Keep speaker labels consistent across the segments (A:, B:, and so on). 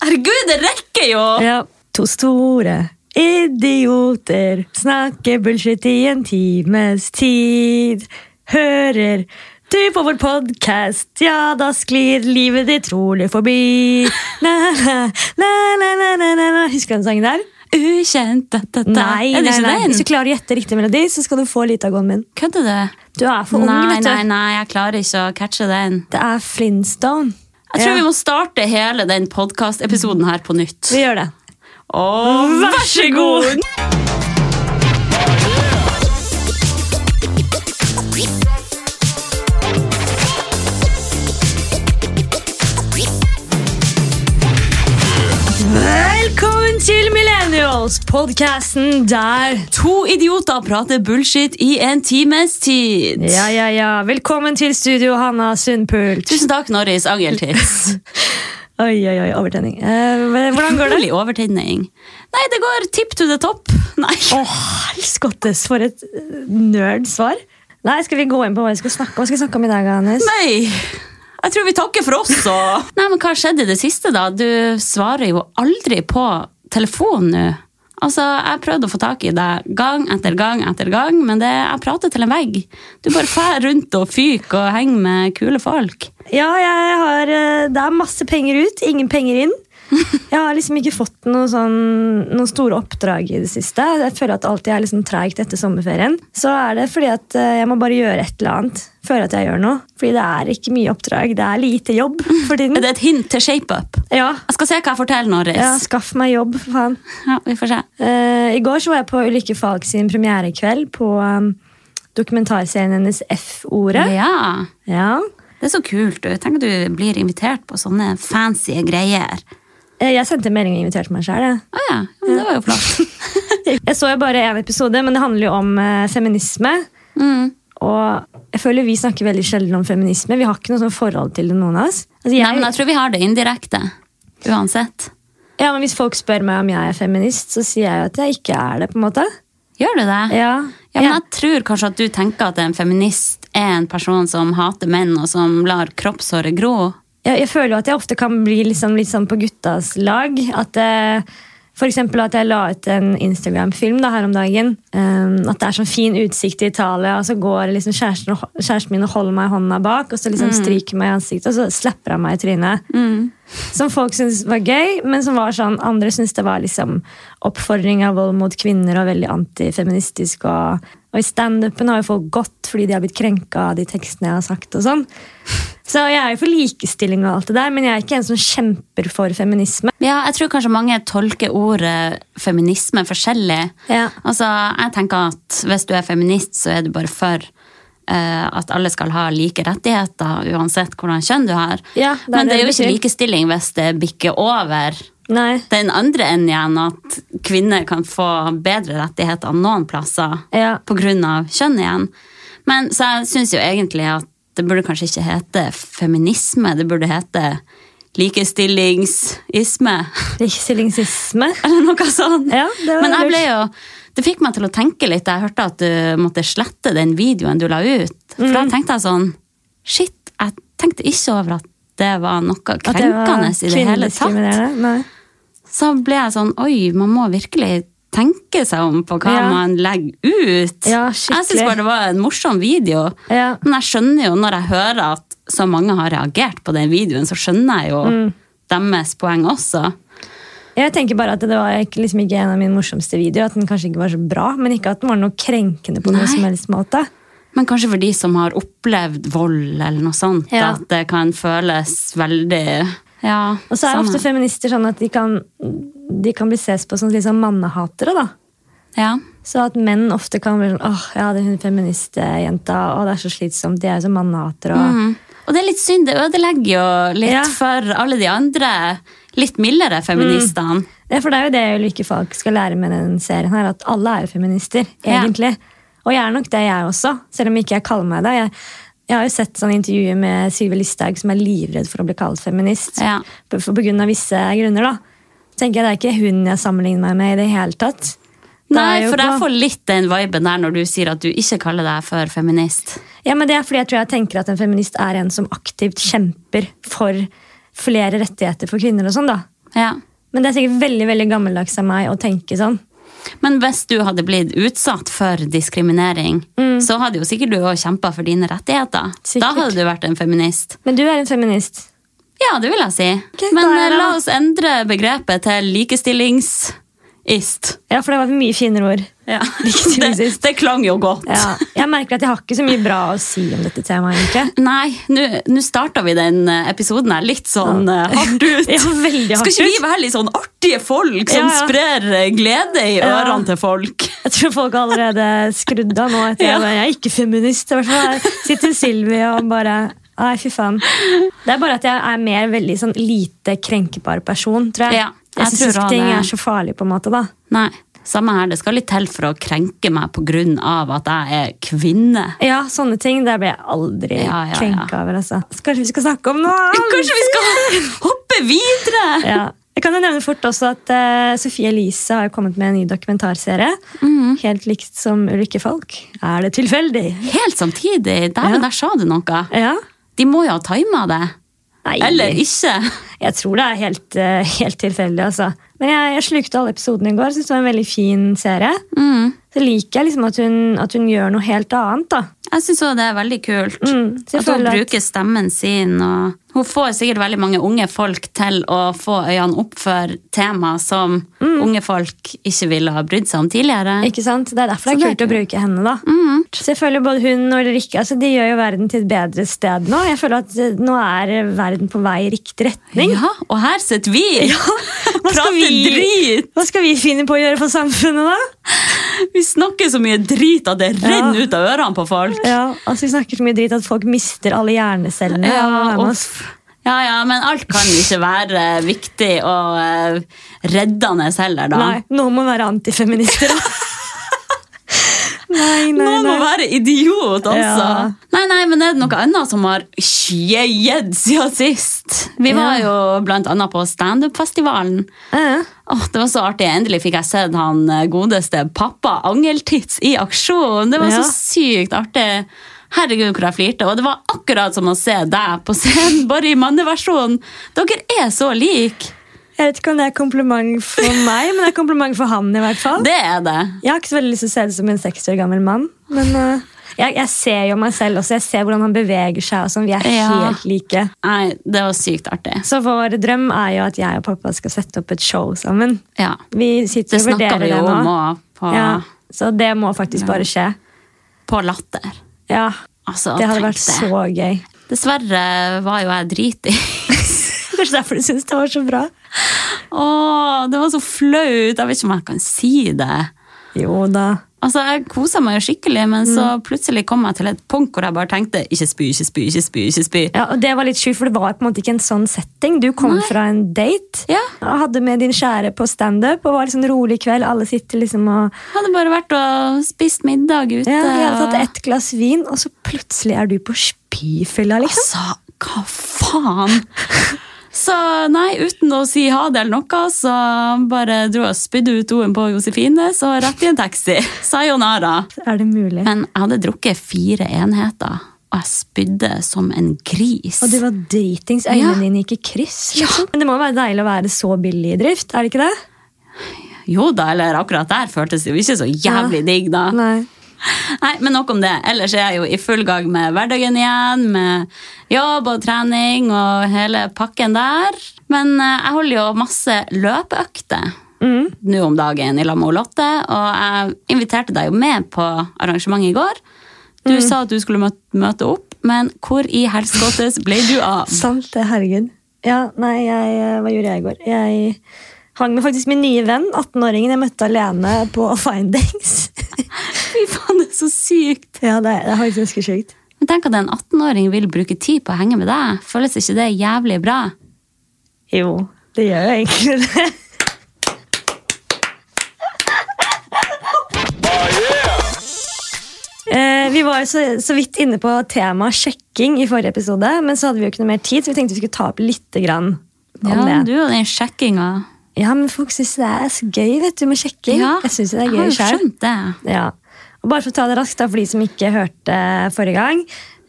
A: herregud, det rekker jo!
B: Ja. To store idioter snakker bullshit i en times tid. Hører du på vår podkast, ja, da sklir livet ditt rolig forbi. Na, na, na, na, na, na, na, na. Husker du den sangen der?
A: Ukjent, da, da, da.
B: Nei,
A: er det
B: nei,
A: ikke
B: nei.
A: den?
B: Hvis du klarer å gjette riktig melodi, så skal du få litt av gåen min.
A: Kødder du?
B: Du er for
A: nei,
B: ung, vet du.
A: nei, nei, jeg klarer ikke å catche den.
B: Det er Flintstone.
A: Jeg tror
B: Ja.
A: vi må starte hele den podkastepisoden her på nytt.
B: Vi gjør det.
A: Og vær så god!
B: Velkommen til Millennials, podkasten der
A: To idioter prater bullshit i en times tid.
B: Ja, ja, ja. Velkommen til studio, Hanna Sundpult.
A: Tusen takk, Norris Angeltids.
B: Oi, oi, oi, overtenning. Eh, hvordan går det?
A: Rolig overtenning. Nei, det går tipp to the top. Nei.
B: Å, helskottes, for et eh, nerd-svar. Nei, skal vi gå inn på hva vi skal snakke om? Hva skal vi snakke om i dag, Hannes?
A: Nei. Jeg tror vi takker for oss. Og... Nei, men Hva har skjedd i det siste, da? Du svarer jo aldri på telefonen nå. Altså, Jeg prøvde å få tak i deg gang etter gang, etter gang, men det, jeg prater til en vegg. Du bare fær rundt og fyker og henger med kule folk.
B: Ja, jeg har eh, Det er masse penger ut, ingen penger inn. Jeg har liksom ikke fått noe sånn, noen store oppdrag i det siste. Jeg føler at alltid er liksom treigt etter sommerferien. Så er det fordi at eh, jeg må bare gjøre et eller annet. Føle at jeg gjør noe. Fordi det er ikke mye oppdrag. Det er lite jobb for tiden.
A: Er det et hint til shape-up?
B: Ja,
A: Jeg skal se hva jeg får til, Norris.
B: ja, skaff meg jobb, for faen.
A: Ja, vi får se.
B: Eh, I går så var jeg på Ulrikke Falk sin premierekveld på um, dokumentarserien hennes F-ordet.
A: Ja,
B: Ja.
A: Det er så kult. du. Tenk at du blir invitert på sånne fancy greier.
B: Eh, Jeg sendte en melding og inviterte meg sjøl.
A: Å ja, ja, men det var jo flott.
B: Jeg så jo bare én episode, men det handler jo om eh, feminisme.
A: Mm.
B: Og jeg føler vi snakker veldig sjelden om feminisme. Vi har ikke noe sånn forhold til det, noen av oss. Altså,
A: Nei, men
B: jeg,
A: jeg tror vi har det indirekte. Uansett.
B: ja, men hvis folk spør meg om jeg er feminist, så sier jeg jo at jeg ikke er det. på en måte.
A: Gjør du det?
B: Ja,
A: Ja, men
B: ja.
A: jeg tror kanskje at du tenker at en feminist er en person som hater menn, og som lar kroppshåret gro.
B: jeg, jeg føler jo at jeg ofte kan bli liksom, litt sånn på guttas lag. At eh, for eksempel at jeg la ut en Instagram-film da, her om dagen. eh, at det er sånn fin utsikt i Italia, og så går liksom kjæresten, og- kjæresten min og holder meg i hånda bak, og så liksom stryker meg i ansiktet, og så slapper han meg i trynet. Som folk syntes var gøy, men som var sånn, andre syntes det var liksom oppfordring av vold mot kvinner og veldig antifeministisk. Og, og i standupen har jo folk gått fordi de har blitt krenka av de tekstene jeg har sagt. og sånn. Så jeg er jo for likestilling, og alt det der, men jeg er ikke en som kjemper for feminisme.
A: Ja, jeg tror kanskje mange tolker ordet feminisme forskjellig.
B: Ja.
A: Altså, jeg tenker at hvis du er feminist, så er du bare for eh, at alle skal ha like rettigheter, uansett hvordan kjønn du har.
B: Ja, det er
A: Men det er
B: det det
A: jo ikke
B: betyr.
A: likestilling hvis det bikker over
B: Nei.
A: den andre enden igjen, at kvinner kan få bedre rettigheter noen plasser.
B: Ja.
A: på grunn av kjønn igjen. Men så jeg synes jo egentlig at det burde kanskje ikke hete feminisme, det burde hete likestillingsisme,
B: Likestillingsisme.
A: eller noe sånt.
B: Ja, det var
A: Men jeg
B: lurt.
A: ble jo, det fikk meg til å tenke litt, da jeg hørte at du måtte slette den videoen du la ut. For
B: Mm.
A: da tenkte jeg sånn, shit, jeg tenkte ikke over at det var noe
B: At det var
A: krenkende i det hele tatt.
B: kvinnediskriminerende. Nei.
A: Så ble jeg sånn, oi, man må virkelig tenke seg om på hva
B: Ja.
A: man legger ut.
B: Ja,
A: Jeg synes
B: skikkelig.
A: bare det var en morsom video.
B: Ja.
A: Men jeg skjønner jo når jeg hører at så mange har reagert på den videoen, så skjønner jeg jo
B: Mm.
A: deres poeng også.
B: Jeg tenker bare at Det var ikke- liksom ikke en av mine morsomste videoer. At den kanskje ikke var så bra, men ikke at den var noe krenkende på
A: Nei.
B: noen som helst måte.
A: Men kanskje for de som har opplevd vold eller noe sånt,
B: Ja.
A: at det kan føles veldig ja,
B: Og så er
A: sånn.
B: ofte feminister sånn at de kan, de kan bli ses på som litt sånn mannehatere. da.
A: ja.
B: Så at menn ofte kan bli sånn åh, ja, det er hun feministjenta, åh, det er så slitsomt, de er jo så mannehatere. og...
A: Mm. Og det er litt synd, det ødelegger jo litt
B: Ja.
A: for alle de andre litt mildere feministene.
B: Ja, for det er jo det Ulrikke Falk skal lære med den serien her, at alle er jo feminister,
A: Ja.
B: egentlig. Og jeg er nok det, jeg også, selv om ikke jeg kaller meg det. Jeg, jeg har jo sett sånne intervjuer med Sylvi Listhaug som er livredd for å bli kalt feminist.
A: Ja.
B: På, for, på grunn av visse grunner, da. Tenker jeg Det er ikke hun jeg sammenligner meg med i det hele tatt. Det er
A: Nei,
B: jo
A: for jeg
B: på-
A: får litt den viben der når du sier at du ikke kaller deg for feminist.
B: Ja, men Det er fordi jeg tror jeg tenker at en feminist er en som aktivt kjemper for flere rettigheter for kvinner og sånn, da.
A: Ja.
B: Men det er sikkert veldig veldig gammeldags av meg å tenke sånn.
A: Men hvis du hadde blitt utsatt for diskriminering, så hadde jo sikkert du også kjempa for dine rettigheter.
B: Mm. Sikkert.
A: Da hadde du vært en feminist.
B: Men du er en feminist.
A: Ja, det vil jeg si.
B: Ok,
A: Men
B: da er
A: eh,
B: det-
A: la oss endre begrepet til likestillingsist.
B: Ja, for det var et mye finere ord.
A: Ja. Det,
B: Likestillingsist.
A: det klang jo godt.
B: Ja. Jeg merker at jeg har ikke så mye bra å si om dette temaet, egentlig.
A: Nei, nå- nå starta vi den eh, episoden her litt sånn
B: Ja.
A: eh, hardt ut.
B: Ja, veldig
A: Skal
B: hardt
A: ikke vi
B: ut.
A: være litt sånn artige folk som
B: Ja, ja.
A: sprer eh, glede i
B: Ja.
A: ørene til folk?
B: Jeg tror folk har allerede skrudd av nå. Etter
A: Ja.
B: jeg, bare, jeg er ikke feminist. I hvert fall Her sitter Sylvi og bare Nei, fy faen. Det er bare at jeg er mer veldig sånn lite krenkebar person, tror jeg.
A: Ja, jeg
B: jeg syns
A: tror
B: ikke
A: også
B: ting
A: det.
B: er så farlig, på en måte. da.
A: Nei, samme her. Det skal litt til for å krenke meg pga. at jeg er kvinne.
B: Ja, sånne ting. Der blir jeg aldri
A: Ja, ja, ja.
B: krenka over. altså. Så kanskje vi skal snakke om noe annet?
A: Kanskje vi skal hoppe videre?
B: Ja. Jeg kan jo nevne fort også at eh, Sophie Elise har jo kommet med en ny dokumentarserie.
A: Mhm.
B: Helt likt som Ulrikke Falk. Er det tilfeldig?
A: Helt samtidig. Dæven,
B: Ja.
A: der sa du noe.
B: Ja.
A: De må jo ha tima det.
B: Nei,
A: Eller ikke.
B: jeg tror det er helt, eh, helt tilfeldig. altså. Men jeg, jeg slukte alle episodene i går. Synes det var en veldig fin serie.
A: Mm.
B: Så liker jeg liksom at hun, at hun gjør noe helt annet. da.
A: Jeg syns det er veldig kult.
B: Mm, så jeg
A: At hun
B: føler at-
A: bruker stemmen sin. Og hun får sikkert veldig mange unge folk til å få øynene opp for tema som unge folk ikke ville ha brydd seg om tidligere.
B: Mm. Ikke sant? Det er derfor det
A: Så
B: er kult
A: det
B: å bruke henne. da.
A: Mm.
B: Så jeg føler både hun og Ulrikke altså, de gjør jo verden til et bedre sted nå. Jeg føler at eh, nå er verden på vei i riktig retning.
A: Ja, og her sitter vi!
B: Hva skal
A: Prater
B: vi-
A: drit!
B: Hva skal vi finne på å gjøre for samfunnet, da?
A: Vi snakker så mye drit at det renner ut av ørene på folk.
B: Ja, altså Vi snakker så mye drit at folk mister alle hjernecellene.
A: Ja,
B: av å være med oss.
A: uff. ja, ja, men alt kan ikke være viktig og eh, reddende heller, da.
B: Nei, noen må være antifeminister, da. nei, nei,
A: Noen må
B: nei.
A: være idiot, altså!
B: Ja.
A: Nei, nei, men er det noe annet som har skjedd siden sist? Vi var
B: Ja.
A: jo blant annet på standup-festivalen.
B: Eh,
A: Åh, det var så artig. Endelig fikk jeg sett han eh, godeste pappa Angeltits i aksjon. Det var
B: Ja.
A: så sykt artig. Herregud, hvor jeg flirte. Og det var akkurat som å se deg på scenen, bare i manneversjon. Dere er så like.
B: jeg vet ikke om det er kompliment for meg, men det er kompliment for han. i hvert fall.
A: Det er det.
B: Jeg har ikke så veldig lyst til å se ut som en 60 år gammel mann. Men eh, jeg, jeg ser jo meg selv også. Jeg ser hvordan han beveger seg. og sånn. Vi er
A: Ja.
B: helt like.
A: Nei, det var sykt artig.
B: Så vår drøm er jo at jeg og pappa skal sette opp et show sammen.
A: Ja.
B: Vi sitter
A: Det
B: og
A: snakka
B: vurderer
A: vi
B: det
A: jo
B: nå.
A: om også på,
B: Ja, så det må faktisk bare skje.
A: på Latter.
B: Ja,
A: Altså,
B: Det hadde
A: tenk
B: vært så gøy.
A: Dessverre var jo jeg dritig.
B: Kanskje derfor du syns det var så bra?
A: Åh, det var så flaut. Jeg vet ikke om jeg kan si det.
B: Jo da.
A: Altså, Jeg kosa meg jo skikkelig, men så
B: Mm.
A: plutselig kom jeg til et punkt hvor jeg bare tenkte ikke spy, ikke spy, ikke spy. ikke spy.
B: Ja, og Det var litt sjukt, for det var på en måte ikke en sånn setting. Du kom
A: Nei.
B: fra en date
A: Ja.
B: og hadde med din kjære på standup og var liksom rolig kveld. Alle sitter liksom og
A: Jeg hadde bare vært og spist middag ute.
B: ja, Vi hadde tatt
A: og-
B: ett glass vin, og så plutselig er du på spyfylla, liksom.
A: Altså, hva faen? Så nei, uten å si ha det eller noe, så bare dro jeg og spydde ut doen på Josefine, så rett i en taxi. Sayonara.
B: Er det mulig?
A: Men jeg hadde drukket fire enheter, og jeg spydde som en gris.
B: Og du var dritings.
A: Ja.
B: Øynene dine gikk i kryss. Liksom. Men det må jo være deilig å være så billig i drift, er det ikke det?
A: Jo da, eller akkurat der føltes det jo ikke så jævlig digg, da.
B: Nei.
A: Nei, men nok om det. Ellers er jeg jo i full gang med hverdagen igjen, med jobb og trening og hele pakken der. Men eh, jeg holder jo masse løpeøkter
B: Mm.
A: nå om dagen i lag med Lotte, og jeg inviterte deg jo med på arrangementet i går. Du
B: Mm.
A: sa at du skulle møte, møte opp, men hvor i helskottes ble du av?
B: Sant det, herregud. Ja, nei, jeg, eh, hva gjorde jeg i går? Jeg hang med faktisk min nye venn, 18-åringen jeg møtte alene på Findings.
A: Fy faen, det er så sykt!
B: ja, det, er- det er faktisk ganske sjukt.
A: Men tenk at en 18-åring vil bruke tid på å henge med deg. Føles ikke det jævlig bra?
B: Jo, det gjør jo egentlig det. Eh, Vi var jo så, så vidt inne på temaet sjekking i forrige episode, men så hadde vi jo ikke noe mer tid, så vi tenkte vi skulle ta opp lite grann om
A: Ja,
B: det.
A: du og den sjekkinga.
B: Ja, men folk syns det er så gøy vet du, med sjekking.
A: Ja,
B: jeg synes det er
A: jeg har
B: gøy
A: jo
B: selv.
A: skjønt det.
B: Ja. Og bare for å ta det raskt da, for de som ikke hørte forrige gang.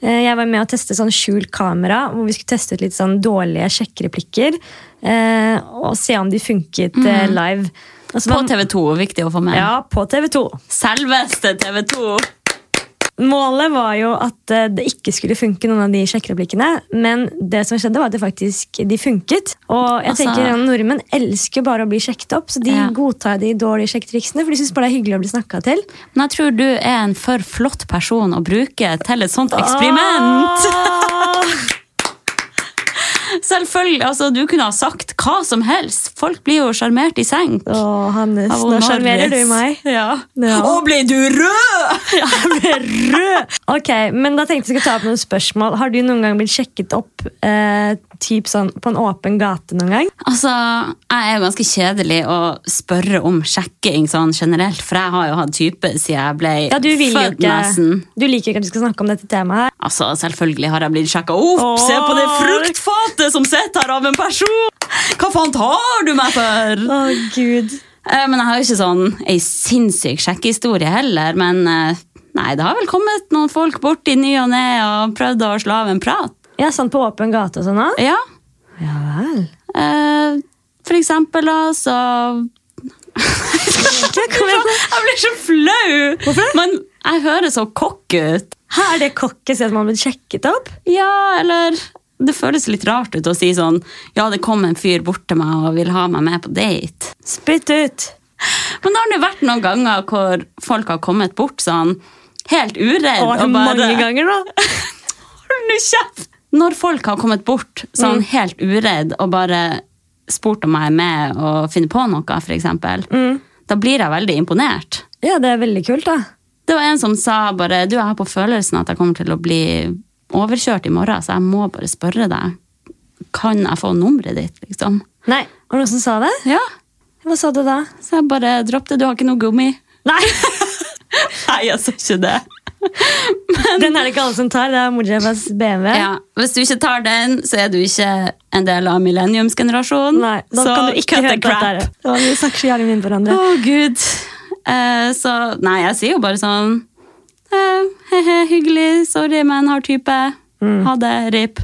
B: eh, Jeg var med å teste sånn skjult kamera, hvor vi skulle teste ut litt sånn dårlige sjekkereplikker. eh, og se om de funket eh, live. Altså,
A: Mhm. På
B: man-
A: TV 2, viktig å få med.
B: Ja, på TV 2.
A: Selveste TV 2!
B: Målet var jo at eh, det ikke skulle funke noen av de sjekkereplikkene, men det som skjedde var at det faktisk, de funket. Og jeg
A: Altså-
B: tenker at Nordmenn elsker bare å bli sjekket opp, så de
A: Ja.
B: godtar de dårlige sjekketriksene. For de syns bare det er hyggelig å bli snakka til.
A: Men jeg tror du er en for flott person å bruke til et sånt eksperiment.
B: Ah. Åh!
A: Selvfølgelig, altså Du kunne ha sagt hva som helst. Folk blir jo sjarmert i senk.
B: Åh, Hannes,
A: av
B: nå
A: Norris.
B: sjarmerer du meg.
A: Ja.
B: Ja.
A: Å, ble du rød?! Ja.
B: Rød! Ok, men da tenkte jeg skulle ta opp noen spørsmål. Har du noen gang blitt sjekket opp eh, typ sånn, på en åpen gate noen gang?
A: Altså, Jeg er jo ganske kjedelig å spørre om sjekking sånn generelt, for jeg har jo hatt type siden jeg ble
B: Ja, du vil jo
A: født
B: ikke
A: nesten.
B: Du liker jo ikke at vi skal snakke om dette temaet her.
A: Altså, Selvfølgelig har jeg blitt sjekka opp!
B: Åh.
A: Se på det fruktfatet som sitter her av en person! Hva faen tar du meg for?!
B: Å, Gud.
A: Eh, Men jeg har jo ikke sånn ei sinnssyk sjekkehistorie heller. Men eh, nei, det har vel kommet noen folk bort i ny og ne og prøvd å slå av en prat.
B: Ja, sånn på åpen gate og sånn da?
A: Ja.
B: Ja vel.
A: eh, For eksempel, da, så
B: Ja, kom igjen.
A: Jeg blir så flau! Hvorfor det? Men jeg høres så kokk ut.
B: Her er det kokket at man blir sjekket opp.
A: Ja, eller Det føles litt rart ut å si sånn Ja, det kom en fyr bort til meg og vil ha meg med på date.
B: Spytt ut.
A: Men det har det vært noen ganger hvor folk har kommet bort sånn helt uredd
B: Å,
A: og bare
B: mange ganger da.
A: Hold nå kjeft! Når folk har kommet bort sånn
B: Mm.
A: helt uredd og bare spurt om jeg er med og finner på noe, f.eks.,
B: Mm.
A: da blir jeg veldig imponert.
B: Ja, det er veldig kult da.
A: Det var en som sa bare Du, jeg har på følelsen at jeg kommer til å bli overkjørt i morgen, så jeg må bare spørre deg. Kan jeg få nummeret ditt, liksom?
B: Nei, var det noen som sa det?
A: Ja.
B: Hva sa du da?
A: Så jeg bare dropp det, du har ikke noe gummi.
B: Nei,
A: Nei, jeg sa ikke det.
B: den er det ikke alle som tar. Det er Mojabas BMW.
A: Ja, Hvis du ikke tar den, så er du ikke en del av millenniumsgenerasjonen.
B: Nei, da
A: så
B: kan du
A: cut
B: ikke
A: the
B: høre på dette
A: crap.
B: her. Da, Vi snakker så jævlig mye inn på
A: Å,
B: hverandre.
A: gud. Eh, så nei, jeg sier jo bare sånn eh, He-he, hyggelig, sorry, men har type.
B: Mm.
A: Ha det, rip.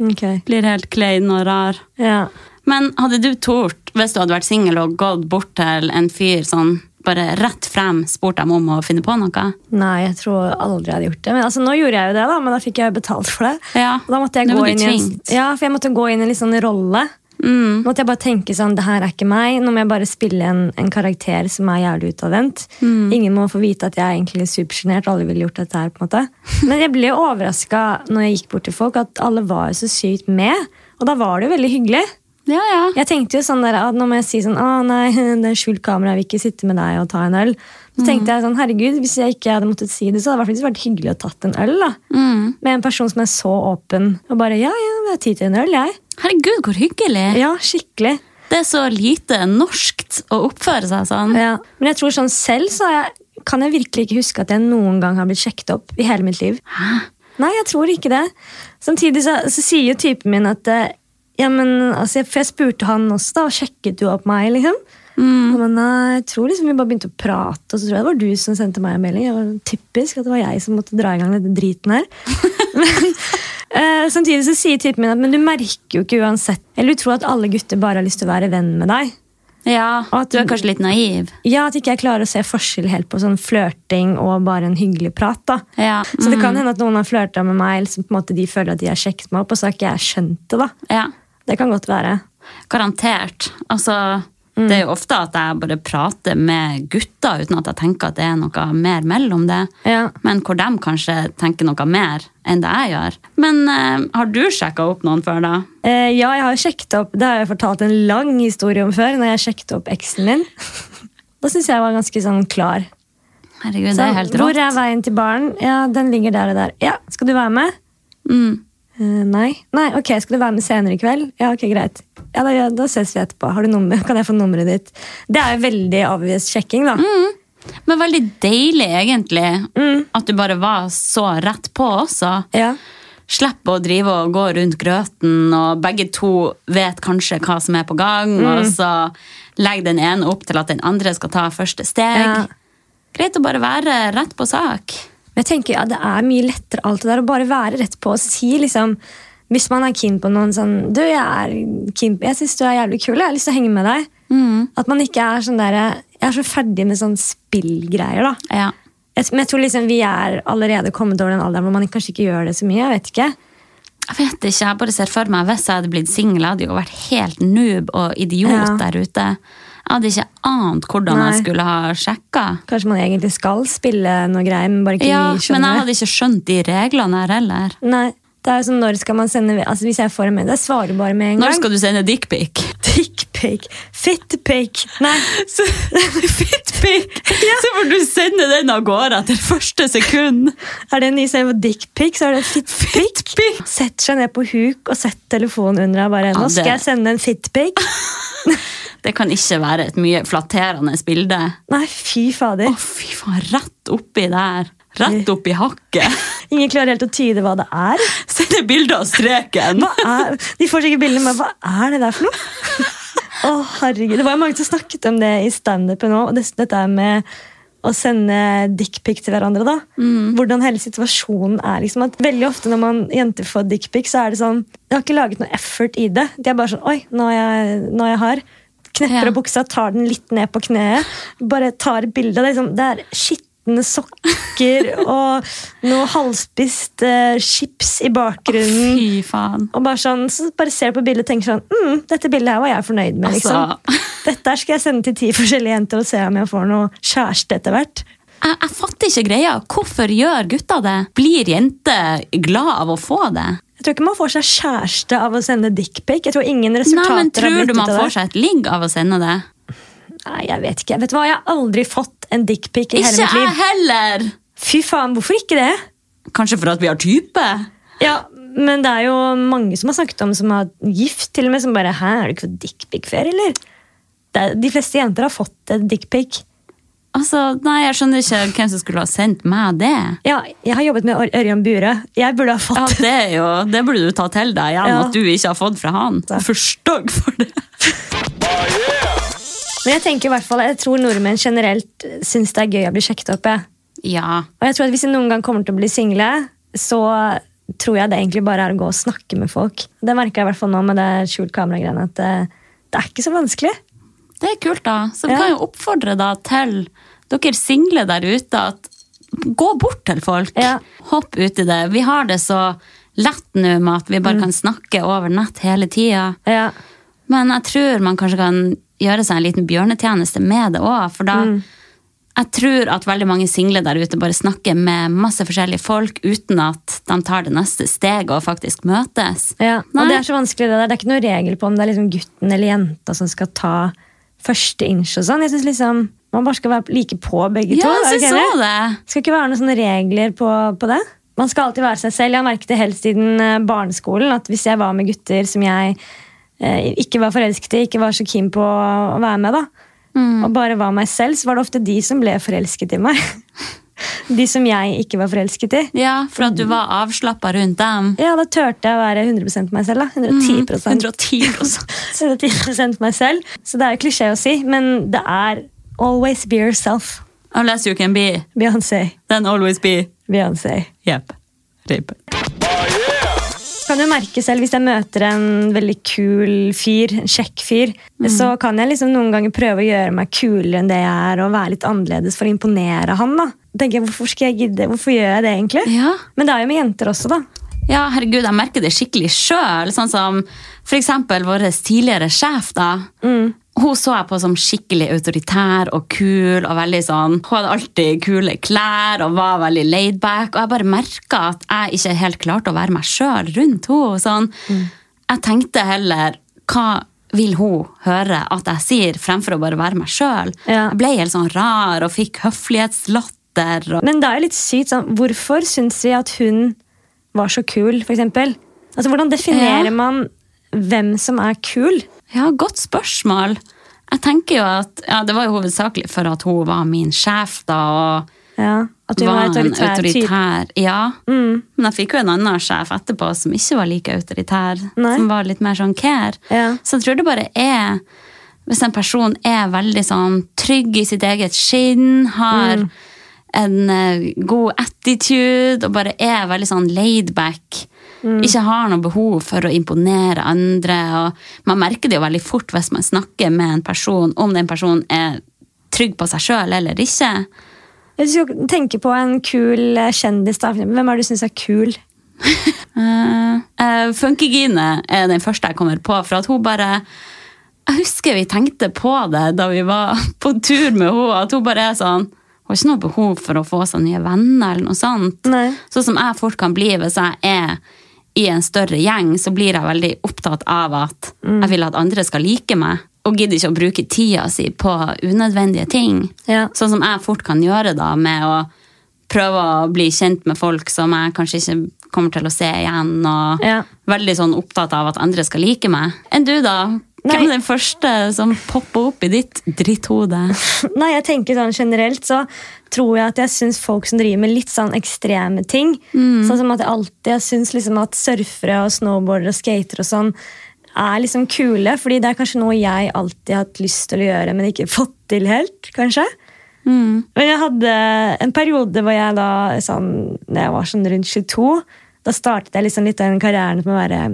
B: Ok,
A: Blir helt klein og rar.
B: ja.
A: Men hadde du tort, hvis du hadde vært singel og gått bort til en fyr sånn bare rett frem, spurt dem om å finne på noe?
B: Nei, jeg tror aldri jeg hadde gjort det. Men altså, nå gjorde jeg jo det, da, men da fikk jeg betalt for det.
A: Ja.
B: Og Da måtte jeg
A: Nå
B: gå
A: var du
B: inn i en,
A: tvingt.
B: ja, for jeg måtte gå inn i en litt sånn rolle.
A: Mm.
B: Måtte jeg bare tenke sånn, det her er ikke meg. Nå må jeg bare spille en, en karakter som er jævlig utadvendt. Ingen må få vite at jeg er egentlig supersjenert. Alle ville gjort dette her. på en måte. Men jeg ble jo overraska når jeg gikk bort til folk, at alle var jo så sykt med. Og da var det jo veldig hyggelig.
A: Ja, ja.
B: Jeg tenkte jo sånn der, at nå må jeg si sånn Å nei, det er skjult kamera, jeg vil ikke sitte med deg og ta en øl. Så tenkte jeg sånn, herregud, hvis jeg ikke hadde måttet si det, så hadde det i hvert fall ikke vært hyggelig å tatt en øl. da.
A: Mm.
B: Med en person som er så åpen. Og bare ja, ja, vi har tid til en øl, jeg.
A: Herregud, hvor hyggelig!
B: Ja, skikkelig.
A: Det er så lite norskt å oppføre seg sånn.
B: Ja. Men jeg tror sånn selv så har jeg, kan jeg virkelig ikke huske at jeg noen gang har blitt sjekket opp i hele mitt liv.
A: Hæ?
B: Nei, jeg tror ikke det. Samtidig så, så sier jo typen min at eh, ja, men, altså, jeg- For jeg spurte han også, da, og sjekket du opp meg, liksom? Og han, nei, jeg tror liksom vi bare begynte å prate, og så tror jeg det var du som sendte meg en melding. Det var typisk at det var jeg som måtte dra i gang denne driten her. men, eh, samtidig så sier typen min at men du merker jo ikke uansett Eller du tror at alle gutter bare har lyst til å være venn med deg.
A: Ja,
B: Og at-
A: du er kanskje litt naiv.
B: Ja, At ikke jeg klarer å se forskjell helt på sånn flørting og bare en hyggelig prat. da.
A: Ja. Mm.
B: Så det kan hende at noen har flørta med meg, eller så på en måte de føler at de har sjekket meg opp, og så har ikke jeg skjønt det. da.
A: ja.
B: Det kan godt være.
A: Garantert. Altså,
B: Mm.
A: det er jo ofte at jeg bare prater med gutter uten at jeg tenker at det er noe mer mellom det.
B: Ja.
A: Men hvor de kanskje tenker noe mer enn det jeg gjør. Men eh, har du sjekka opp noen før, da?
B: Eh, ja, jeg har sjekket opp, Det har jeg fortalt en lang historie om før, når jeg sjekket opp eksen min. da syns jeg var ganske sånn klar.
A: Herregud, det
B: Sånn,
A: er helt
B: hvor
A: rått.
B: er veien til baren? Ja, den ligger der og der. Ja, skal du være med?
A: Mm.
B: Eh, nei. Nei, ok, Skal du være med senere i kveld? Ja, ok, greit. Ja, Da, da ses vi etterpå. Har du nummer? Kan jeg få nummeret ditt? Det er jo veldig obvious sjekking, da.
A: Mm. Men veldig deilig, egentlig. At du bare var så rett på også.
B: Ja.
A: Slipp å drive og gå rundt grøten, og begge to vet kanskje hva som er på gang, og så legger den ene opp til at den andre skal ta første steg.
B: Ja.
A: Greit å bare være rett på sak.
B: Men jeg tenker ja, det er mye lettere alt det der å bare være rett på og si liksom Hvis man er keen på noen sånn Du, jeg er keen på Jeg syns du er jævlig kul. Jeg har lyst til å henge med deg.
A: Mm.
B: At man ikke er sånn der Jeg er så ferdig med sånn spillgreier, da.
A: Ja.
B: Jeg, men jeg tror liksom vi er allerede kommet over den alderen hvor man kanskje ikke gjør det så mye. jeg vet ikke.
A: Jeg vet ikke, jeg bare ser for meg Hvis jeg hadde blitt singel, hadde jeg jo vært helt noob og idiot
B: Ja.
A: der ute. Jeg hadde ikke ant hvordan
B: Nei.
A: jeg skulle ha sjekka.
B: Kanskje man egentlig skal spille noe greier, men bare ikke
A: Ja,
B: vi
A: men jeg
B: skjønner det.
A: hadde ikke skjønt de reglene her heller.
B: Nei, det er jo sånn, når skal man sende altså Hvis jeg får en med, jeg svarer bare med en
A: Når
B: gang.
A: skal du sende dickpic?
B: Dickpic. Fittpic. Nei.
A: Fittpic! Så får du sende den av gårde etter første sekund.
B: Er det en ny serie for dickpic, så er det fitpic. Sett seg ned på huk og sett telefonen under deg. bare,
A: Ja,
B: Nå
A: det-
B: skal jeg sende en fitpic.
A: Det kan ikke være et mye flatterende bilde.
B: Nei, fy
A: Å,
B: fader.
A: fy faen, rett oppi der. Rett oppi hakket.
B: Ingen klarer helt å tyde hva det er.
A: Sende bilde av streken.
B: Hva er de får sikkert bildene, men hva er det der for noe? Å, herregud. Det var jo mange som snakket om det i standupen òg. Dette er med å sende dickpic til hverandre. da. Hvordan hele situasjonen er. liksom. At veldig ofte når man jenter får dickpic, så er det sånn De har ikke laget noe effort i det. De er bare sånn Oi, nå er jeg, nå er jeg hard. Knepper
A: Ja.
B: av buksa, tar den litt ned på kneet. Bare tar et bilde. av Det, liksom, det er skitne sokker og noe halvspist eh, chips i bakgrunnen.
A: Fy faen.
B: Og bare sånn, så bare ser du på bildet og tenker sånn mm, Dette bildet her var jeg fornøyd med.
A: Altså.
B: Liksom. Dette her skal jeg sende til ti forskjellige jenter og se om jeg får noe kjæreste etter hvert.
A: Jeg, jeg fatter ikke greia. Hvorfor gjør gutter det? Blir jenter glad av å få det?
B: Jeg tror ikke man får seg kjæreste av å sende dickpic. Jeg tror ingen
A: Nei,
B: resultater
A: men
B: har
A: Tror
B: blitt
A: du
B: ut
A: man
B: av
A: får
B: det.
A: seg et ligg av å sende det?
B: Nei, jeg vet ikke. Vet du hva, jeg har aldri fått en dickpic i hele
A: Ikke
B: mitt
A: jeg
B: liv.
A: heller!
B: Fy faen, hvorfor ikke det?
A: Kanskje for at vi har type?
B: Ja, men det er jo mange som har snakket om som har gift, til og med, som bare Hæ, har du ikke fått dickpic før, eller? Det er, de fleste jenter har fått en dickpic.
A: Altså, Nei, jeg skjønner ikke hvem som skulle ha sendt meg det.
B: Ja, jeg har jobbet med Ør- Ørjan Bure. Jeg burde ha fått
A: Ja, Det er jo, det burde du ta til deg igjen,
B: Ja.
A: at du ikke har fått fra han.
B: Ja.
A: Forstått for det.
B: Men jeg tenker i hvert fall, jeg tror nordmenn generelt syns det er gøy å bli sjekket opp. Jeg.
A: Ja,
B: Og jeg tror at Hvis jeg noen gang kommer til å bli single, så tror jeg det egentlig bare er å gå og snakke med folk. Det merker jeg i hvert fall nå med det skjult kamera-greiene. at det, det er ikke så vanskelig.
A: Det er kult, da. Så vi
B: Ja.
A: kan jo oppfordre da til dere single der ute at gå bort til folk.
B: Ja.
A: Hopp ut i det. Vi har det så lett nå med at vi
B: Mm.
A: bare kan snakke over nett hele tida.
B: Ja,
A: Men jeg tror man kanskje kan gjøre seg en liten bjørnetjeneste med det òg, for da
B: Mm.
A: Jeg tror at veldig mange single der ute bare snakker med masse forskjellige folk uten at de tar det neste steget og faktisk møtes.
B: ja. Og
A: Nei.
B: det er så vanskelig det der. Det er ikke noen regel på om det er liksom gutten eller jenta som skal ta første inch og sånn. Jeg synes liksom, Man bare skal være like på begge
A: Ja,
B: to. er du
A: jeg
B: ikke
A: syns
B: enig?
A: òg det.
B: skal ikke være noen sånne regler på, på det. Man skal alltid være seg selv. Jeg har merket det helt siden eh, barneskolen. at Hvis jeg var med gutter som jeg eh, ikke var forelsket i, ikke var så keen på å være med, da, og bare var meg selv, så var det ofte de som ble forelsket i meg. De som jeg ikke var forelsket i.
A: Ja, for at du var avslappa rundt dem.
B: Ja, Da turte jeg å være 100 meg selv. da. 110
A: Mm. 110
B: 110 meg selv. Så det er jo klisjé å si, men det er always be yourself.
A: Unless you can be,
B: Beyoncé.
A: then always be.
B: Beyoncé.
A: Yep. Rib.
B: kan jo merke selv hvis jeg møter en veldig kul fyr, en kjekk fyr,
A: Mm.
B: så kan jeg liksom noen ganger prøve å gjøre meg kulere enn det jeg er, og være litt annerledes for å imponere han. da. Tenker jeg, Hvorfor skal jeg gidde? Hvorfor gjør jeg det egentlig?
A: Ja.
B: Men det er jo med jenter også, da.
A: Ja, herregud, jeg merker det skikkelig sjøl. Sånn som for eksempel vår tidligere sjef, da. Hun så jeg på som skikkelig autoritær og kul. og veldig sånn, Hun hadde alltid kule klær og var veldig laidback. Og jeg bare merka at jeg ikke helt klarte å være meg sjøl rundt henne. Sånn. Jeg tenkte heller hva vil hun høre at jeg sier, fremfor å bare være meg sjøl.
B: Ja.
A: Jeg ble helt sånn rar og fikk høflighetslatter. og...
B: Men det er jo litt sykt. sånn, Hvorfor syns vi at hun var så kul, for eksempel? Altså, Hvordan definerer
A: Ja.
B: man hvem som er kul?
A: Ja, godt spørsmål. Jeg tenker jo at ja, Det var jo hovedsakelig for at hun var min sjef, da. og
B: Ja, At hun var,
A: var en
B: autoritær, type. Mm.
A: autoritær ja. Men jeg fikk jo en annen sjef etterpå som ikke var like autoritær.
B: Nei.
A: Som var litt mer sånn care.
B: Ja.
A: Så jeg tror det bare er Hvis en person er veldig sånn trygg i sitt eget skinn, har
B: Mm.
A: en eh, god attitude og bare er veldig sånn laid back
B: Mm.
A: Ikke har noe behov for å imponere andre. Og man merker det jo veldig fort hvis man snakker med en person, om den personen er trygg på seg sjøl eller ikke.
B: Hvis du skal tenke på en kul eh, kjendis, da, for eksempel, hvem er det du syns er kul?
A: Uh, uh, Funkygine er den første jeg kommer på, for at hun bare Jeg husker vi tenkte på det da vi var på tur med henne, at hun bare er sånn Hun har ikke noe behov for å få seg nye venner eller noe sånt.
B: Nei.
A: Sånn som jeg fort kan bli hvis jeg er i en større gjeng, så blir jeg veldig opptatt av at jeg vil at andre skal like meg. Og gidder ikke å bruke tida si på unødvendige ting.
B: Ja.
A: Sånn som jeg fort kan gjøre da, med å prøve å bli kjent med folk som jeg kanskje ikke kommer til å se igjen, og
B: Ja.
A: veldig sånn opptatt av at andre skal like meg. Enn du, da? Hvem
B: Nei.
A: er den første som popper opp i ditt dritthode?
B: Nei, jeg tenker sånn generelt så tror jeg at jeg syns folk som driver med litt sånn ekstreme ting Sånn som at jeg alltid jeg syns liksom at surfere og snowboardere og skatere og sånn er liksom kule, fordi det er kanskje noe jeg alltid har hatt lyst til å gjøre, men ikke fått til helt, kanskje. Men jeg hadde en periode hvor jeg da sånn, når jeg var sånn rundt 22 da startet jeg liksom litt den karrieren med å være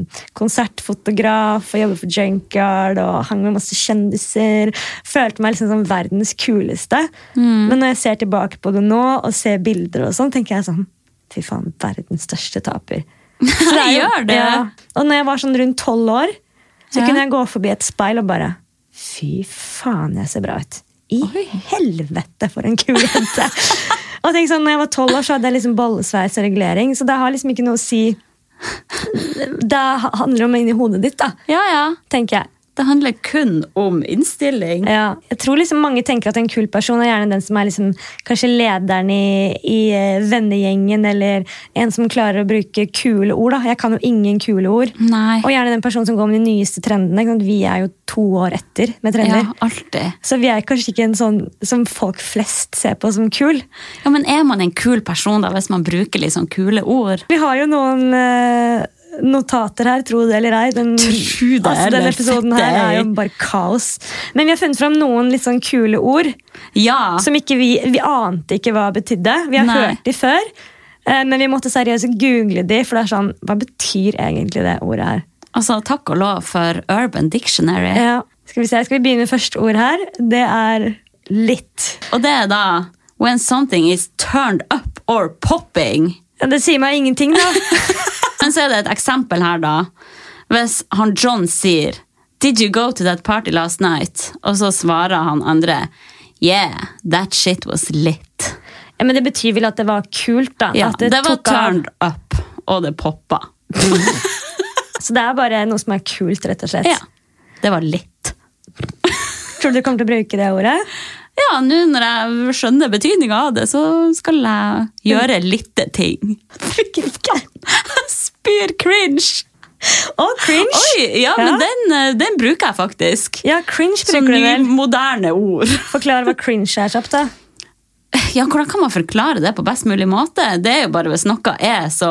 B: konsertfotograf og jobbe for Junkyard og hang med masse kjendiser. Følte meg liksom som verdens kuleste.
A: Mm.
B: Men når jeg ser tilbake på det nå og ser bilder og sånn, tenker jeg sånn Fy faen, verdens største taper. Så er jo-
A: Gjør det.
B: Ja. Og når jeg var sånn rundt tolv år,
A: Ja.
B: så kunne jeg gå forbi et speil og bare Fy faen, jeg ser bra ut. I helvete, for en kul jente! og tenk sånn, når jeg var tolv år, så hadde jeg liksom bollesveis og regulering, så det har liksom ikke noe å si. Det handler om inni hodet ditt, da,
A: Ja, ja.
B: tenker jeg.
A: Det handler kun om innstilling.
B: Ja, jeg tror liksom mange tenker at en kul person er gjerne den som er liksom, kanskje lederen i, i eh, vennegjengen, eller en som klarer å bruke kule ord. Da. Jeg kan jo ingen kule ord.
A: Nei.
B: Og gjerne den personen som går med de nyeste trendene. ikke sant? Vi er jo to år etter med
A: Ja,
B: trender.
A: alltid.
B: Så vi er kanskje ikke en sånn som folk flest ser på som kul.
A: Ja, men er man en kul person da, hvis man bruker litt sånn kule ord?
B: Vi har jo noen eh, notater her, tro det eller ei. Den,
A: Tro det
B: altså,
A: eller
B: denne episoden
A: fett
B: her er
A: ei.
B: jo bare kaos. Men vi har funnet fram noen litt sånn kule ord.
A: Ja.
B: som ikke vi, vi ante ikke hva betydde. Vi har
A: Nei.
B: hørt de før, eh, men vi måtte seriøst google de, for det er sånn, hva betyr egentlig det ordet her?
A: Altså, takk og lov for Urban Dictionary.
B: Ja. Skal vi se, skal vi begynne med første ord her? Det er litt.
A: Og det er da When something is turned up or popping.
B: Ja, Det sier meg ingenting, da.
A: Men så er det et eksempel her, da. Hvis han John sier Did you go to that party last night? Og så svarer han andre Yeah, that shit was lit.
B: Ja, men det betyr vel at det var kult, da.
A: Ja,
B: at
A: det, var
B: tok av.
A: turned up, og det poppa.
B: Så det er bare noe som er kult, rett og slett.
A: Ja, det var litt.
B: Tror du du kommer til å bruke det ordet?
A: Ja, nå når jeg skjønner betydninga av det, så skal jeg gjøre litte ting. Jeg spyr cringe!
B: Å, cringe!
A: Oi, ja, men Den, eh, den bruker jeg faktisk.
B: Ja, cringe
A: Som
B: bruker du
A: nye,
B: vel.
A: moderne ord.
B: Forklar hva cringe er kjapt, da.
A: Ja, Hvordan kan man forklare det på best mulig måte? Det er jo bare hvis noe er så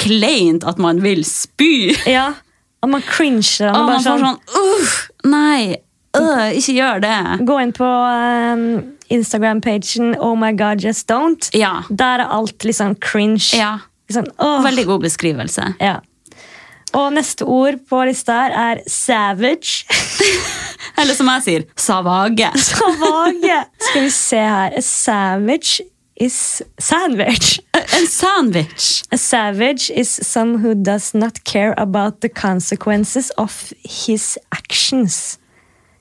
A: kleint at man vil spy.
B: Ja, at man cringer.
A: Og
B: Og
A: man
B: bare
A: får
B: sånn,
A: sånn uff, nei, øh, ikke gjør det.
B: Gå inn på ehm, Instagram-pagen Oh my god, just don't.
A: Ja.
B: Der er alt liksom cringe.
A: Ja.
B: Liksom, åh.
A: Veldig god beskrivelse.
B: Ja. Og neste ord på lista her er savage.
A: Eller som jeg sier, savage.
B: Så vage! Skal vi se her. A savage is sandwich.
A: En sandwich.
B: A savage is some who does not care about the consequences of his actions.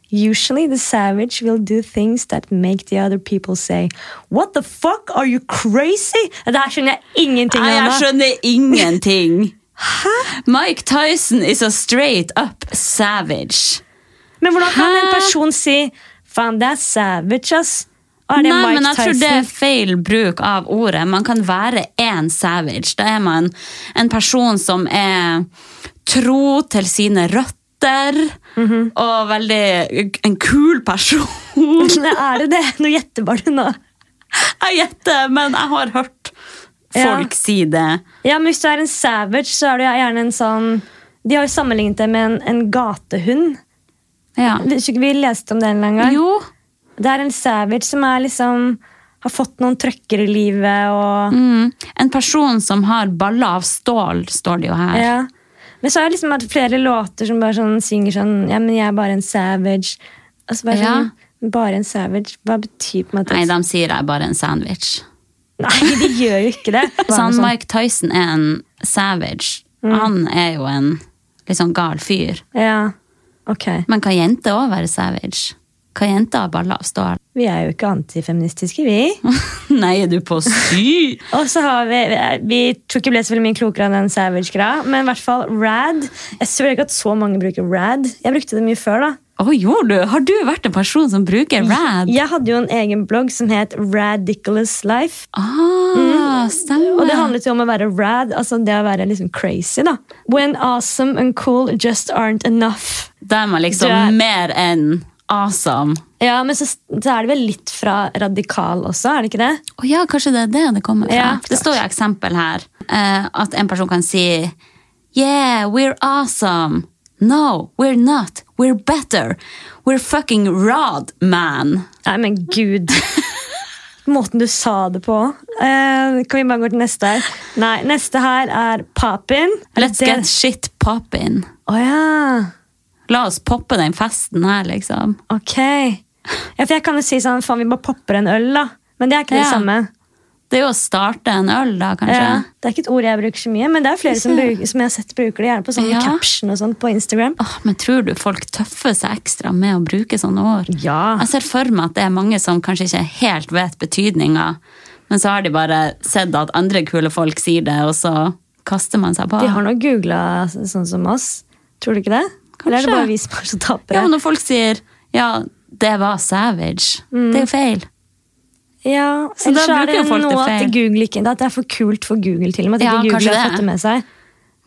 B: Usually, the savage will do things that make the other people say, What the fuck, are you crazy? Det her skjønner jeg ingenting
A: Nei, jeg
B: av. nå.
A: skjønner ingenting. Mike Tyson is a straight up savage.
B: Men hvordan kan en
A: Hæ?
B: person si Faen, det er savage, ass? Og er det
A: Nei,
B: Mike
A: men jeg tror
B: Tyson?
A: det er feil bruk av ordet. Man kan være en savage. Da er man en person som er tro til sine røtter,
B: Mhm.
A: og veldig en kul person.
B: Nei, er det det? Nå gjetter bare du nå.
A: Jeg gjetter, men jeg har hørt
B: Ja.
A: folk si det.
B: Ja, men Hvis du er en savage, så er du gjerne en sånn De har jo sammenlignet det med en, en gatehund.
A: Ja.
B: Vet du ikke, Vi leste om det en eller annen gang.
A: Jo,
B: Det er en savage som er liksom har fått noen trøkker i livet og
A: Mm. En person som har baller av stål, står det jo her.
B: ja. Men så har jeg liksom hatt flere låter som bare sånn synger sånn Ja, men jeg er bare en savage. Og så bare
A: Ja.
B: sånn Bare en savage. Hva betyr på en måte
A: Nei, de sier jeg er bare en sandwich.
B: Nei, de gjør jo ikke det.
A: Sånn, Mike Tyson er en savage.
B: Mm.
A: Han er jo en litt sånn gal fyr.
B: Ja, ok.
A: Men kan jenter òg være savage? Kan jenter ha baller av stål?
B: Vi er jo ikke antifeministiske, vi.
A: Nei, er du på sy?
B: Og så har vi Vi tror ikke vi ble så veldig mye klokere enn den Savage-greia, men i hvert fall Rad. Jeg ser ikke at så mange bruker Rad. Jeg brukte det mye før, da.
A: Å, gjorde du? Har du vært en person som bruker rad?
B: Jeg hadde jo en egen blogg som het Radiculous Life.
A: Ah, stemmer.
B: Mm. Og det handlet jo om å være rad, altså det å være liksom crazy, da. When awesome and cool just aren't enough.
A: De er liksom
B: Du er-
A: mer enn awesome.
B: Ja, men så, så er det vel litt fra radikal også, er det ikke det?
A: Å ja, kanskje det er det det kommer fra.
B: Ja,
A: det står jo eksempel her. eh, at en person kan si Yeah, we're awesome. No, we're not. We're better. We're fucking rad, man.
B: Nei, men gud. Måten du sa det på. Eh, kan vi bare gå til neste her? Nei, neste her er Papin. Er
A: Let's
B: det-
A: get shit poppin.
B: Å ja.
A: La oss poppe den festen her, liksom.
B: Ok. Ja, for jeg kan jo si sånn faen, vi bare popper en øl, da. Men det er ikke det
A: Ja.
B: samme.
A: Det er jo å starte en øl, da, kanskje.
B: Ja. Det er ikke et ord jeg bruker så mye, men det er flere som, bruker, som jeg har sett bruker det gjerne på sånne
A: Ja.
B: caption og sånt på Instagram.
A: Åh, men tror du folk tøffer seg ekstra med å bruke sånne ord?
B: Ja.
A: Jeg ser for meg at det er mange som kanskje ikke helt vet betydninga, men så har de bare sett at andre kule folk sier det, og så kaster man seg på.
B: De har nå googla sånn som oss. Tror du ikke det? Eller er
A: Kanskje.
B: det bare vi som er så tapere?
A: Ja, men når folk sier 'ja, det var savage',
B: Mm.
A: det er jo feil.
B: Ja,
A: Så
B: ellers
A: da
B: er
A: bruker
B: det
A: jo folk det
B: noe
A: feil.
B: at Google ikke At det er for kult for Google til og med. At
A: Ja,
B: ikke
A: kanskje
B: Google har
A: det.
B: fått det med seg.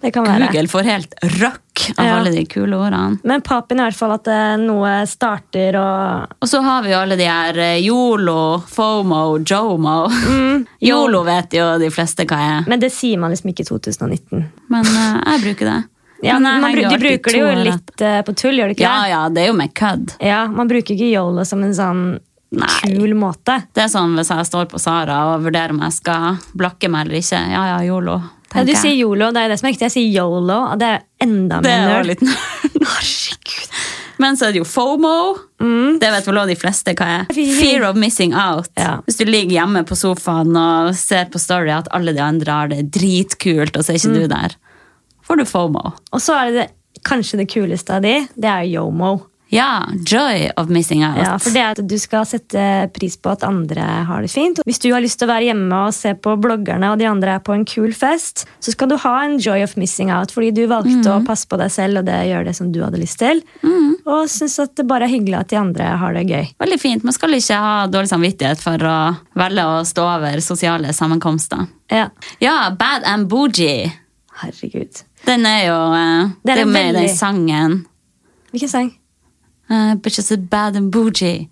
B: Det kan være.
A: Google får helt røkk av
B: Ja.
A: alle de kule ordene.
B: Men papen er i hvert fall at eh, noe starter og
A: Og så har vi jo alle de her eh, yolo, fomo, jomo.
B: Mm.
A: Yolo vet jo de fleste hva er,
B: Men det sier man liksom ikke i 2019.
A: men eh, jeg bruker det.
B: Ja,
A: Men jeg
B: man,
A: henger
B: bru- de
A: alltid to
B: bruker det jo
A: år
B: litt eh, på tull, gjør de ikke
A: Ja, ja, det er jo med kødd.
B: det? Ja, Man bruker ikke yolo som en sånn
A: Nei.
B: kul måte.
A: Det er sånn hvis jeg står på Sara og vurderer om jeg skal blakke meg eller ikke. Ja, ja, yolo.
B: Ja, du
A: tenker
B: sier
A: jeg.
B: yolo, det er jo det som er riktig. Jeg sier yolo, og det er enda
A: Det
B: mer
A: er jo
B: nerd.
A: litt Herregud. Men så er det jo FOMO.
B: Mm.
A: Det vet vel også de fleste hva er.
B: Fear.
A: Fear of missing out.
B: Ja.
A: Hvis du ligger hjemme på sofaen og ser på Story at alle de andre har det dritkult, og så er ikke
B: Mm.
A: du der, får du FOMO.
B: Og så er det, det kanskje det kuleste av de, det er yomo.
A: Ja, joy of missing out.
B: Ja, for det er at Du skal sette pris på at andre har det fint. Hvis du har lyst til å være hjemme og se på bloggerne, og de andre er på en kul fest, så skal du ha en joy of missing out, fordi du valgte å passe på deg selv og det gjør det som du hadde lyst til. Og syns at det bare er hyggelig at de andre har det gøy.
A: Veldig fint. Man skal ikke ha dårlig samvittighet for å velge å stå over sosiale sammenkomster.
B: Ja,
A: Ja, Bad and Bougie.
B: herregud.
A: Den er jo, eh, det er
B: Den er
A: jo med i den
B: veldig-
A: sangen.
B: Hvilken sang?
A: Eh, bitches are bad and bougie.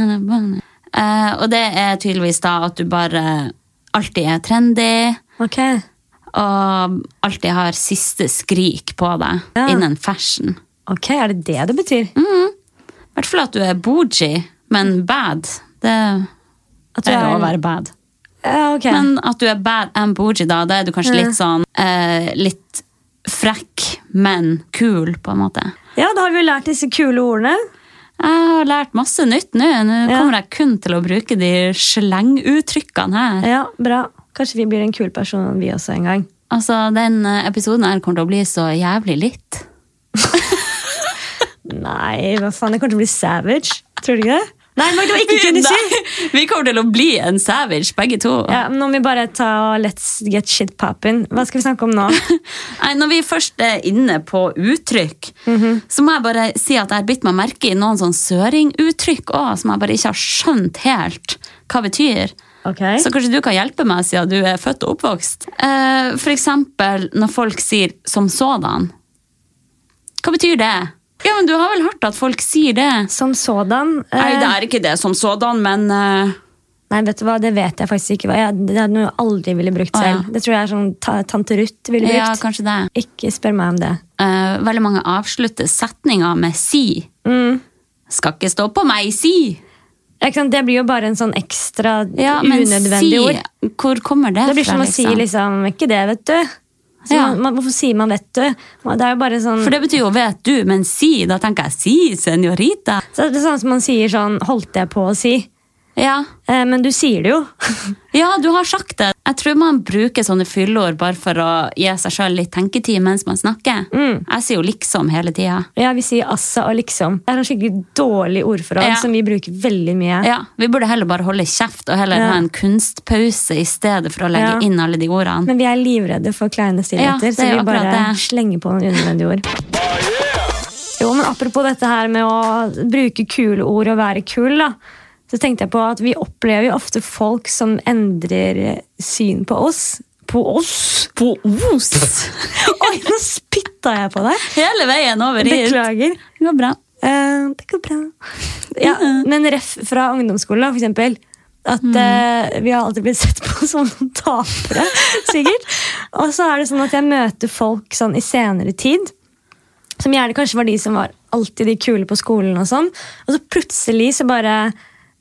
A: Eh, og det er tydeligvis da at du bare alltid er trendy,
B: Ok.
A: og alltid har siste skrik på deg
B: Ja.
A: innen fashion.
B: Ok, Er det det det betyr?
A: Mm. I hvert fall at du er bougie, men bad. Det
B: At du
A: er lov å være
B: en-
A: bad.
B: Ja, ok.
A: Men at du er bad and bougie, da, da er du kanskje litt sånn eh, litt frekk, men kul, på en måte.
B: ja, da har vi jo lært disse kule ordene.
A: Jeg har lært masse nytt nå. Nå
B: Ja.
A: kommer jeg kun til å bruke de slenguttrykkene her.
B: Ja, bra. Kanskje vi blir en kul person, vi også, en gang.
A: Altså, Den eh, episoden her kommer til å bli så jævlig litt.
B: Nei, hva faen, jeg kommer til å bli savage. Tror du ikke det? Nei, men det var ikke
A: Nei,
B: kunne si.
A: vi kommer til å bli en savage, begge to.
B: Ja, men nå må vi bare ta og let's get shit poppin. Hva skal vi snakke om nå?
A: Nei, Når vi først er inne på uttrykk,
B: Mhm.
A: så må jeg bare si at jeg har bitt meg merke i noen sånn søringuttrykk òg, som jeg bare ikke har skjønt helt hva betyr.
B: Ok.
A: Så kanskje du kan hjelpe meg, siden du er født og oppvokst. Eh, for eksempel når folk sier 'som sådan'. Hva betyr det? Ja, men Du har vel hørt at folk sier det?
B: Som sådan eh,
A: Nei, det er ikke det som sådan, men eh,
B: Nei, vet du hva, det vet jeg faktisk ikke. hva- Jeg, det er noe jeg aldri ville brukt
A: Å, ja.
B: selv. Det tror jeg er sånn ta, tante Ruth ville
A: Ja,
B: brukt.
A: kanskje det.
B: Ikke spør meg om det.
A: Eh, veldig mange avslutter setninger med 'si'.
B: Mm.
A: Skal ikke stå på meg, si!
B: Ikke sant? Det blir jo bare en sånn ekstra
A: Ja, men
B: unødvendig
A: si,
B: ord.
A: hvor kommer det,
B: Det blir som
A: fra?
B: å si liksom Ikke det, vet du. Så
A: Ja.
B: man, man, hvorfor sier man 'vet du'? Man- Det er jo bare sånn
A: For det betyr jo 'vet du', men 'si'. Da tenker jeg 'si, senorita'.
B: så Det er sånn som man sier sånn 'holdt jeg på å si',
A: Ja.
B: eh, men du sier det jo.
A: ja, du har sagt det. Jeg tror man bruker sånne fylleord bare for å gi seg sjøl litt tenketid mens man snakker.
B: Mm.
A: Jeg sier jo 'liksom' hele tida.
B: Ja, Vi sier 'assa' og 'liksom'. Det er en skikkelig dårlig ordforråd
A: Ja.
B: som vi bruker veldig mye.
A: Ja, Vi burde heller bare holde kjeft og heller
B: Ja.
A: ha en kunstpause i stedet for å legge
B: Ja.
A: inn alle de ordene.
B: Men vi er livredde for kleine stillheter,
A: Mm. Ja, det
B: så
A: er jo
B: vi bare
A: akkurat det.
B: slenger på noen unødvendige ord. Jo, men Apropos dette her med å bruke kule ord og være kul, da, så tenkte jeg på at vi opplever jo ofte folk som endrer syn på oss. På oss?
A: På os!
B: Oi, nå spytta jeg på deg!
A: Hele veien over hit.
B: Beklager.
A: Det går bra.
B: Eh, det går bra. Ja, men ref fra ungdomsskolen, da, for eksempel. At eh, vi har alltid blitt sett på som noen tapere, sikkert. Og så er det sånn at jeg møter folk sånn i senere tid, som gjerne kanskje var de som var alltid de kule på skolen og sånn. Og så plutselig så bare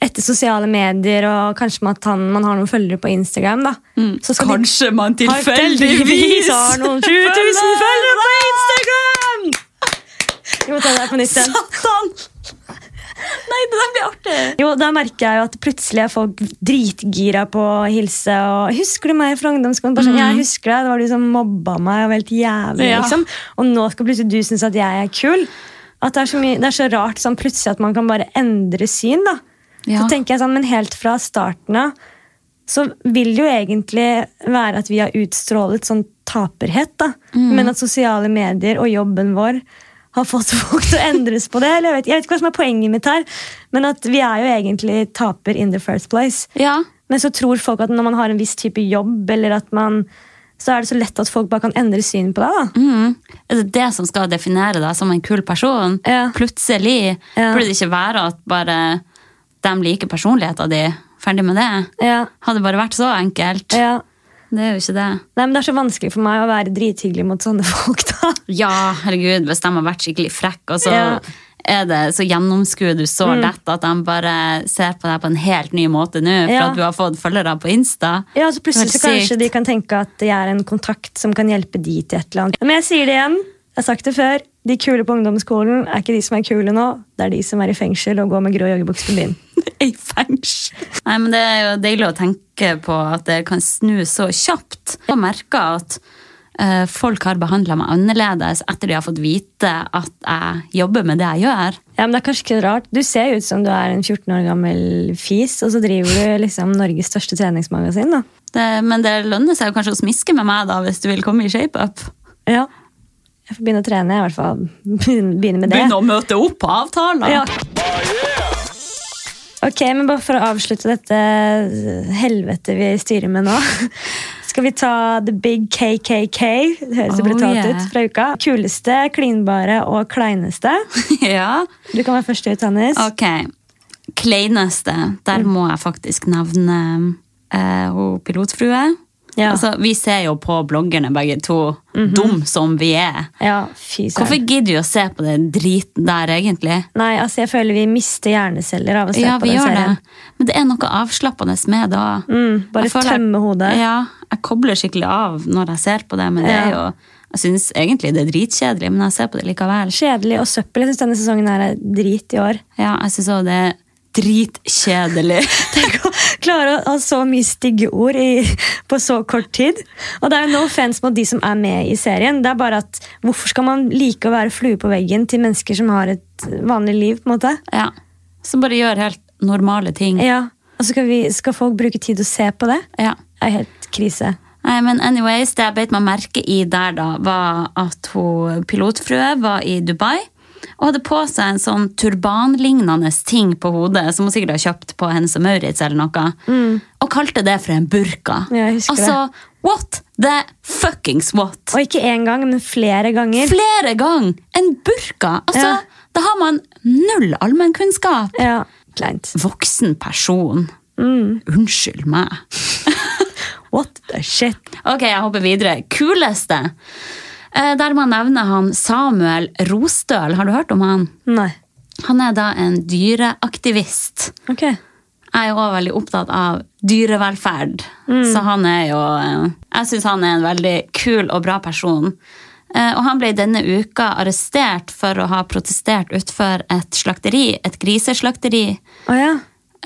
B: etter sosiale medier og kanskje med at han, man har noen følgere på Instagram, da. så skal de-
A: Kanskje man
B: Mm. har tilfeldigvis har noen 20 000 følgere på Instagram! Vi må ta det her på nytt igjen.
A: Satan! Nei, det der blir artig.
B: Eh, Jo, da merker jeg jo at plutselig er folk dritgira på å hilse. Og husker du meg fra ungdomsskolen? Bare sånn, Jeg husker deg, det var du som mobba meg og var helt jævlig.
A: Ja.
B: liksom. Og nå skal plutselig du synes at jeg er kul. At det er så, mye, det er så rart sånn plutselig at man kan bare endre syn. da.
A: Ja.
B: Så tenker jeg sånn, Men helt fra starten av så vil det jo egentlig være at vi har utstrålet sånn taperhet. da. Men at sosiale medier og jobben vår har fått folk til å endres på det. eller Jeg vet, jeg vet ikke hva som er poenget mitt her, men at vi er jo egentlig taper in the first place.
A: Ja.
B: Men så tror folk at når man har en viss type jobb, eller at man, så er det så lett at folk bare kan endre syn på deg. da.
A: Mm. Er det det som skal definere deg som en kul person?
B: Ja.
A: Plutselig
B: Ja.
A: burde det ikke være at bare de liker personligheten din. Ferdig med det.
B: Ja,
A: Hadde det bare vært så enkelt.
B: ja.
A: Det er jo ikke det.
B: Nei, men Det er så vanskelig for meg å være drithyggelig mot sånne folk. da.
A: Ja, herregud, hvis de har vært skikkelig frekk, og så
B: Ja. Mm.
A: er det så gjennomskuet du så lett at de bare ser på deg på en helt ny måte nå, for
B: Ja.
A: at du har fått følgere på Insta.
B: Ja, så Plutselig så
A: Det er helt
B: kanskje
A: sykt.
B: de kan tenke at jeg er en kontakt som kan hjelpe de til et eller annet. Men jeg sier det igjen. Jeg har sagt det før. De kule på ungdomsskolen er ikke de som er kule nå. Det er de som er i fengsel og går med grå joggebukse på byen.
A: I fengsel. Nei, men det er jo deilig å tenke på at det kan snu så kjapt. Jeg merker at eh, folk har behandla meg annerledes etter de har fått vite at jeg jobber med det jeg gjør.
B: Ja, men det er kanskje ikke rart. Du ser jo ut som du er en 14 år gammel fis, og så driver du liksom Norges største treningsmagasin. da.
A: Det, men det lønner seg jo kanskje å smiske med meg da, hvis du vil komme i shape-up.
B: Ja. Jeg får begynne å trene, i hvert fall. Begynne med det.
A: Begynne å møte opp på avtaler!
B: Ja. Ok, men bare for å avslutte dette helvete vi styrer med nå, skal vi ta The Big KKK. Det høres jo
A: Oh,
B: brutalt
A: yeah.
B: ut fra uka. Kuleste, klinbare og kleineste.
A: ja.
B: Du kan være først ut, Hannes.
A: Ok. Kleineste. Der må jeg faktisk nevne eh, hun pilotfrue.
B: Ja.
A: Altså, vi ser jo på bloggerne begge to, dum som vi er.
B: Ja, fy
A: Hvorfor
B: søren.
A: gidder vi å se på den driten der, egentlig?
B: Nei, altså jeg føler vi mister hjerneceller av å se
A: Ja,
B: på
A: vi
B: den
A: gjør det.
B: serien.
A: Men det er noe avslappende med det òg.
B: Mm, bare
A: Jeg føler jeg-
B: tømme hodet.
A: Ja, jeg kobler skikkelig av når jeg ser på det, men det
B: Ja.
A: er jo Jeg syns egentlig det er dritkjedelig, men jeg ser på det likevel.
B: Kjedelig og søppel. Jeg syns denne sesongen her er drit i år.
A: Ja, jeg syns òg det er dritkjedelig.
B: Tenk å klare å ha så mye stygge ord i, på så kort tid. Og det er jo no offense mot de som er med i serien. Det er bare at Hvorfor skal man like å være flue på veggen til mennesker som har et vanlig liv? på en måte?
A: Ja. Så bare gjør helt normale ting.
B: Ja, Og så skal, vi, skal folk bruke tid å se på det?
A: Ja.
B: Det er helt krise.
A: Nei, men anyways, Det jeg beit meg merke i der, da, var at hun pilotfrue var i Dubai og hadde på seg en sånn turbanlignende ting på hodet som hun sikkert har kjøpt på Hennes og Maurits, eller noe, og kalte det for en burka.
B: Mm. Ja, jeg husker
A: altså, what the fuckings what?
B: Og ikke én gang, men flere ganger.
A: Flere ganger! En burka! Altså,
B: Ja.
A: Da har man null allmennkunnskap.
B: Ja, Kleint.
A: Voksen person.
B: Mm.
A: Unnskyld meg.
B: What the shit?
A: Ok, jeg hopper videre. Kuleste. Eh, Der må jeg nevne han Samuel Rostøl. Har du hørt om han?
B: Nei.
A: Han er da en dyreaktivist
B: Ok.
A: Jeg er jo også veldig opptatt av dyrevelferd. Så han er jo eh, Jeg syns han er en veldig kul og bra person. Eh, Og han ble denne uka arrestert for å ha protestert utfor et slakteri, et griseslakteri,
B: Å ja.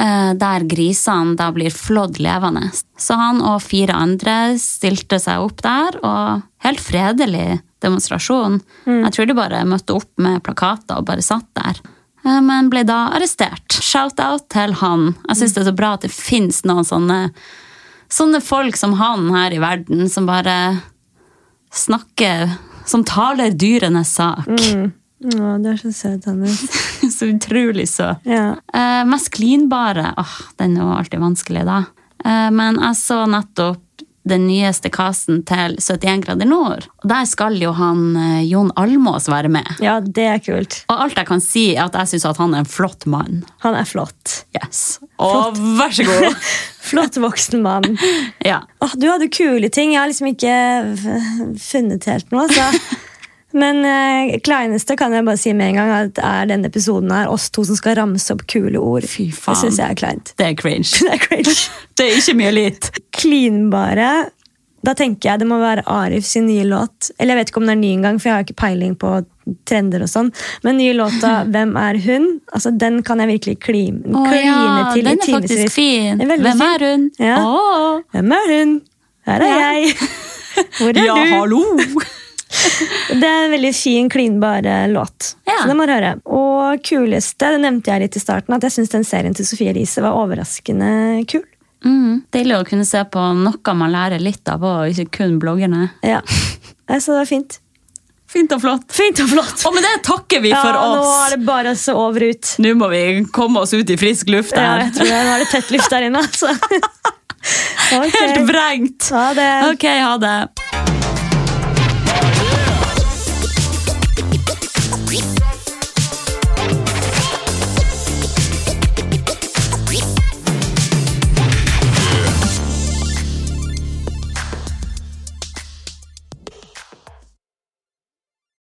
A: eh, der grisene da blir flådd levende. Så han og fire andre stilte seg opp der, og helt fredelig demonstrasjon. Jeg tror de bare møtte opp med plakater og bare satt der. Eh, Men ble da arrestert. Shout-out til han. Jeg syns det er så bra at det fins noen sånne, sånne folk som han her i verden, som bare snakker Som taler dyrenes sak.
B: Å, du er så søt, Hannes.
A: så utrolig søt.
B: Ja.
A: Eh, mest klinbare Åh, den er jo alltid vanskelig, da. Eh, men jeg så nettopp den nyeste casten til 71 grader nord. Og der skal jo han eh, Jon Almås være med.
B: ja, det er kult.
A: Og alt jeg kan si, er at jeg syns han er en flott mann.
B: Han er flott.
A: Yes. Og vær så god!
B: Flott voksen mann.
A: ja.
B: Åh, du hadde kule ting. Jeg har liksom ikke f- funnet helt noe. Så. Men eh, kleineste kan jeg bare si med en gang at er denne episoden her oss to som skal ramse opp kule ord.
A: Fy faen.
B: Det syns jeg er kleint.
A: Det er cringe.
B: Det er cringe.
A: Det er ikke mye litt.
B: Klinbare. Da tenker jeg det må være Arif sin nye låt. Eller jeg vet ikke om den er ny engang, for jeg har ikke peiling på trender og sånn. Men nye låta 'Hvem er hun?' Altså, den kan jeg virkelig klim,
A: Å
B: kline
A: ja,
B: til i
A: den er
B: timevis.
A: faktisk fin.
B: Den er veldig
A: Hvem
B: fin.
A: er hun?
B: Ja.
A: Åh.
B: Hvem er hun? Her er
A: Ja.
B: jeg. Hvor er
A: ja
B: du?
A: hallo!
B: Det er en veldig fin, klinbar eh, låt.
A: Ja.
B: Så det må du høre. Og kuleste, det nevnte jeg litt i starten, at jeg syns den serien til Sofie Elise var overraskende kul.
A: Mm, deilig å kunne se på noe man lærer litt av, og ikke kun bloggerne.
B: Ja. Nei, Så det var fint.
A: Fint og flott.
B: Fint og flott!
A: Og med det takker vi
B: Ja,
A: for
B: nå
A: oss.
B: er det bare å se over og ut.
A: Nå må vi komme oss ut i frisk luft
B: Ja,
A: her.
B: jeg tror det. Nå er det tett luft der inne, altså. Ok.
A: Helt vrengt.
B: Ha det.
A: Ok, ha det.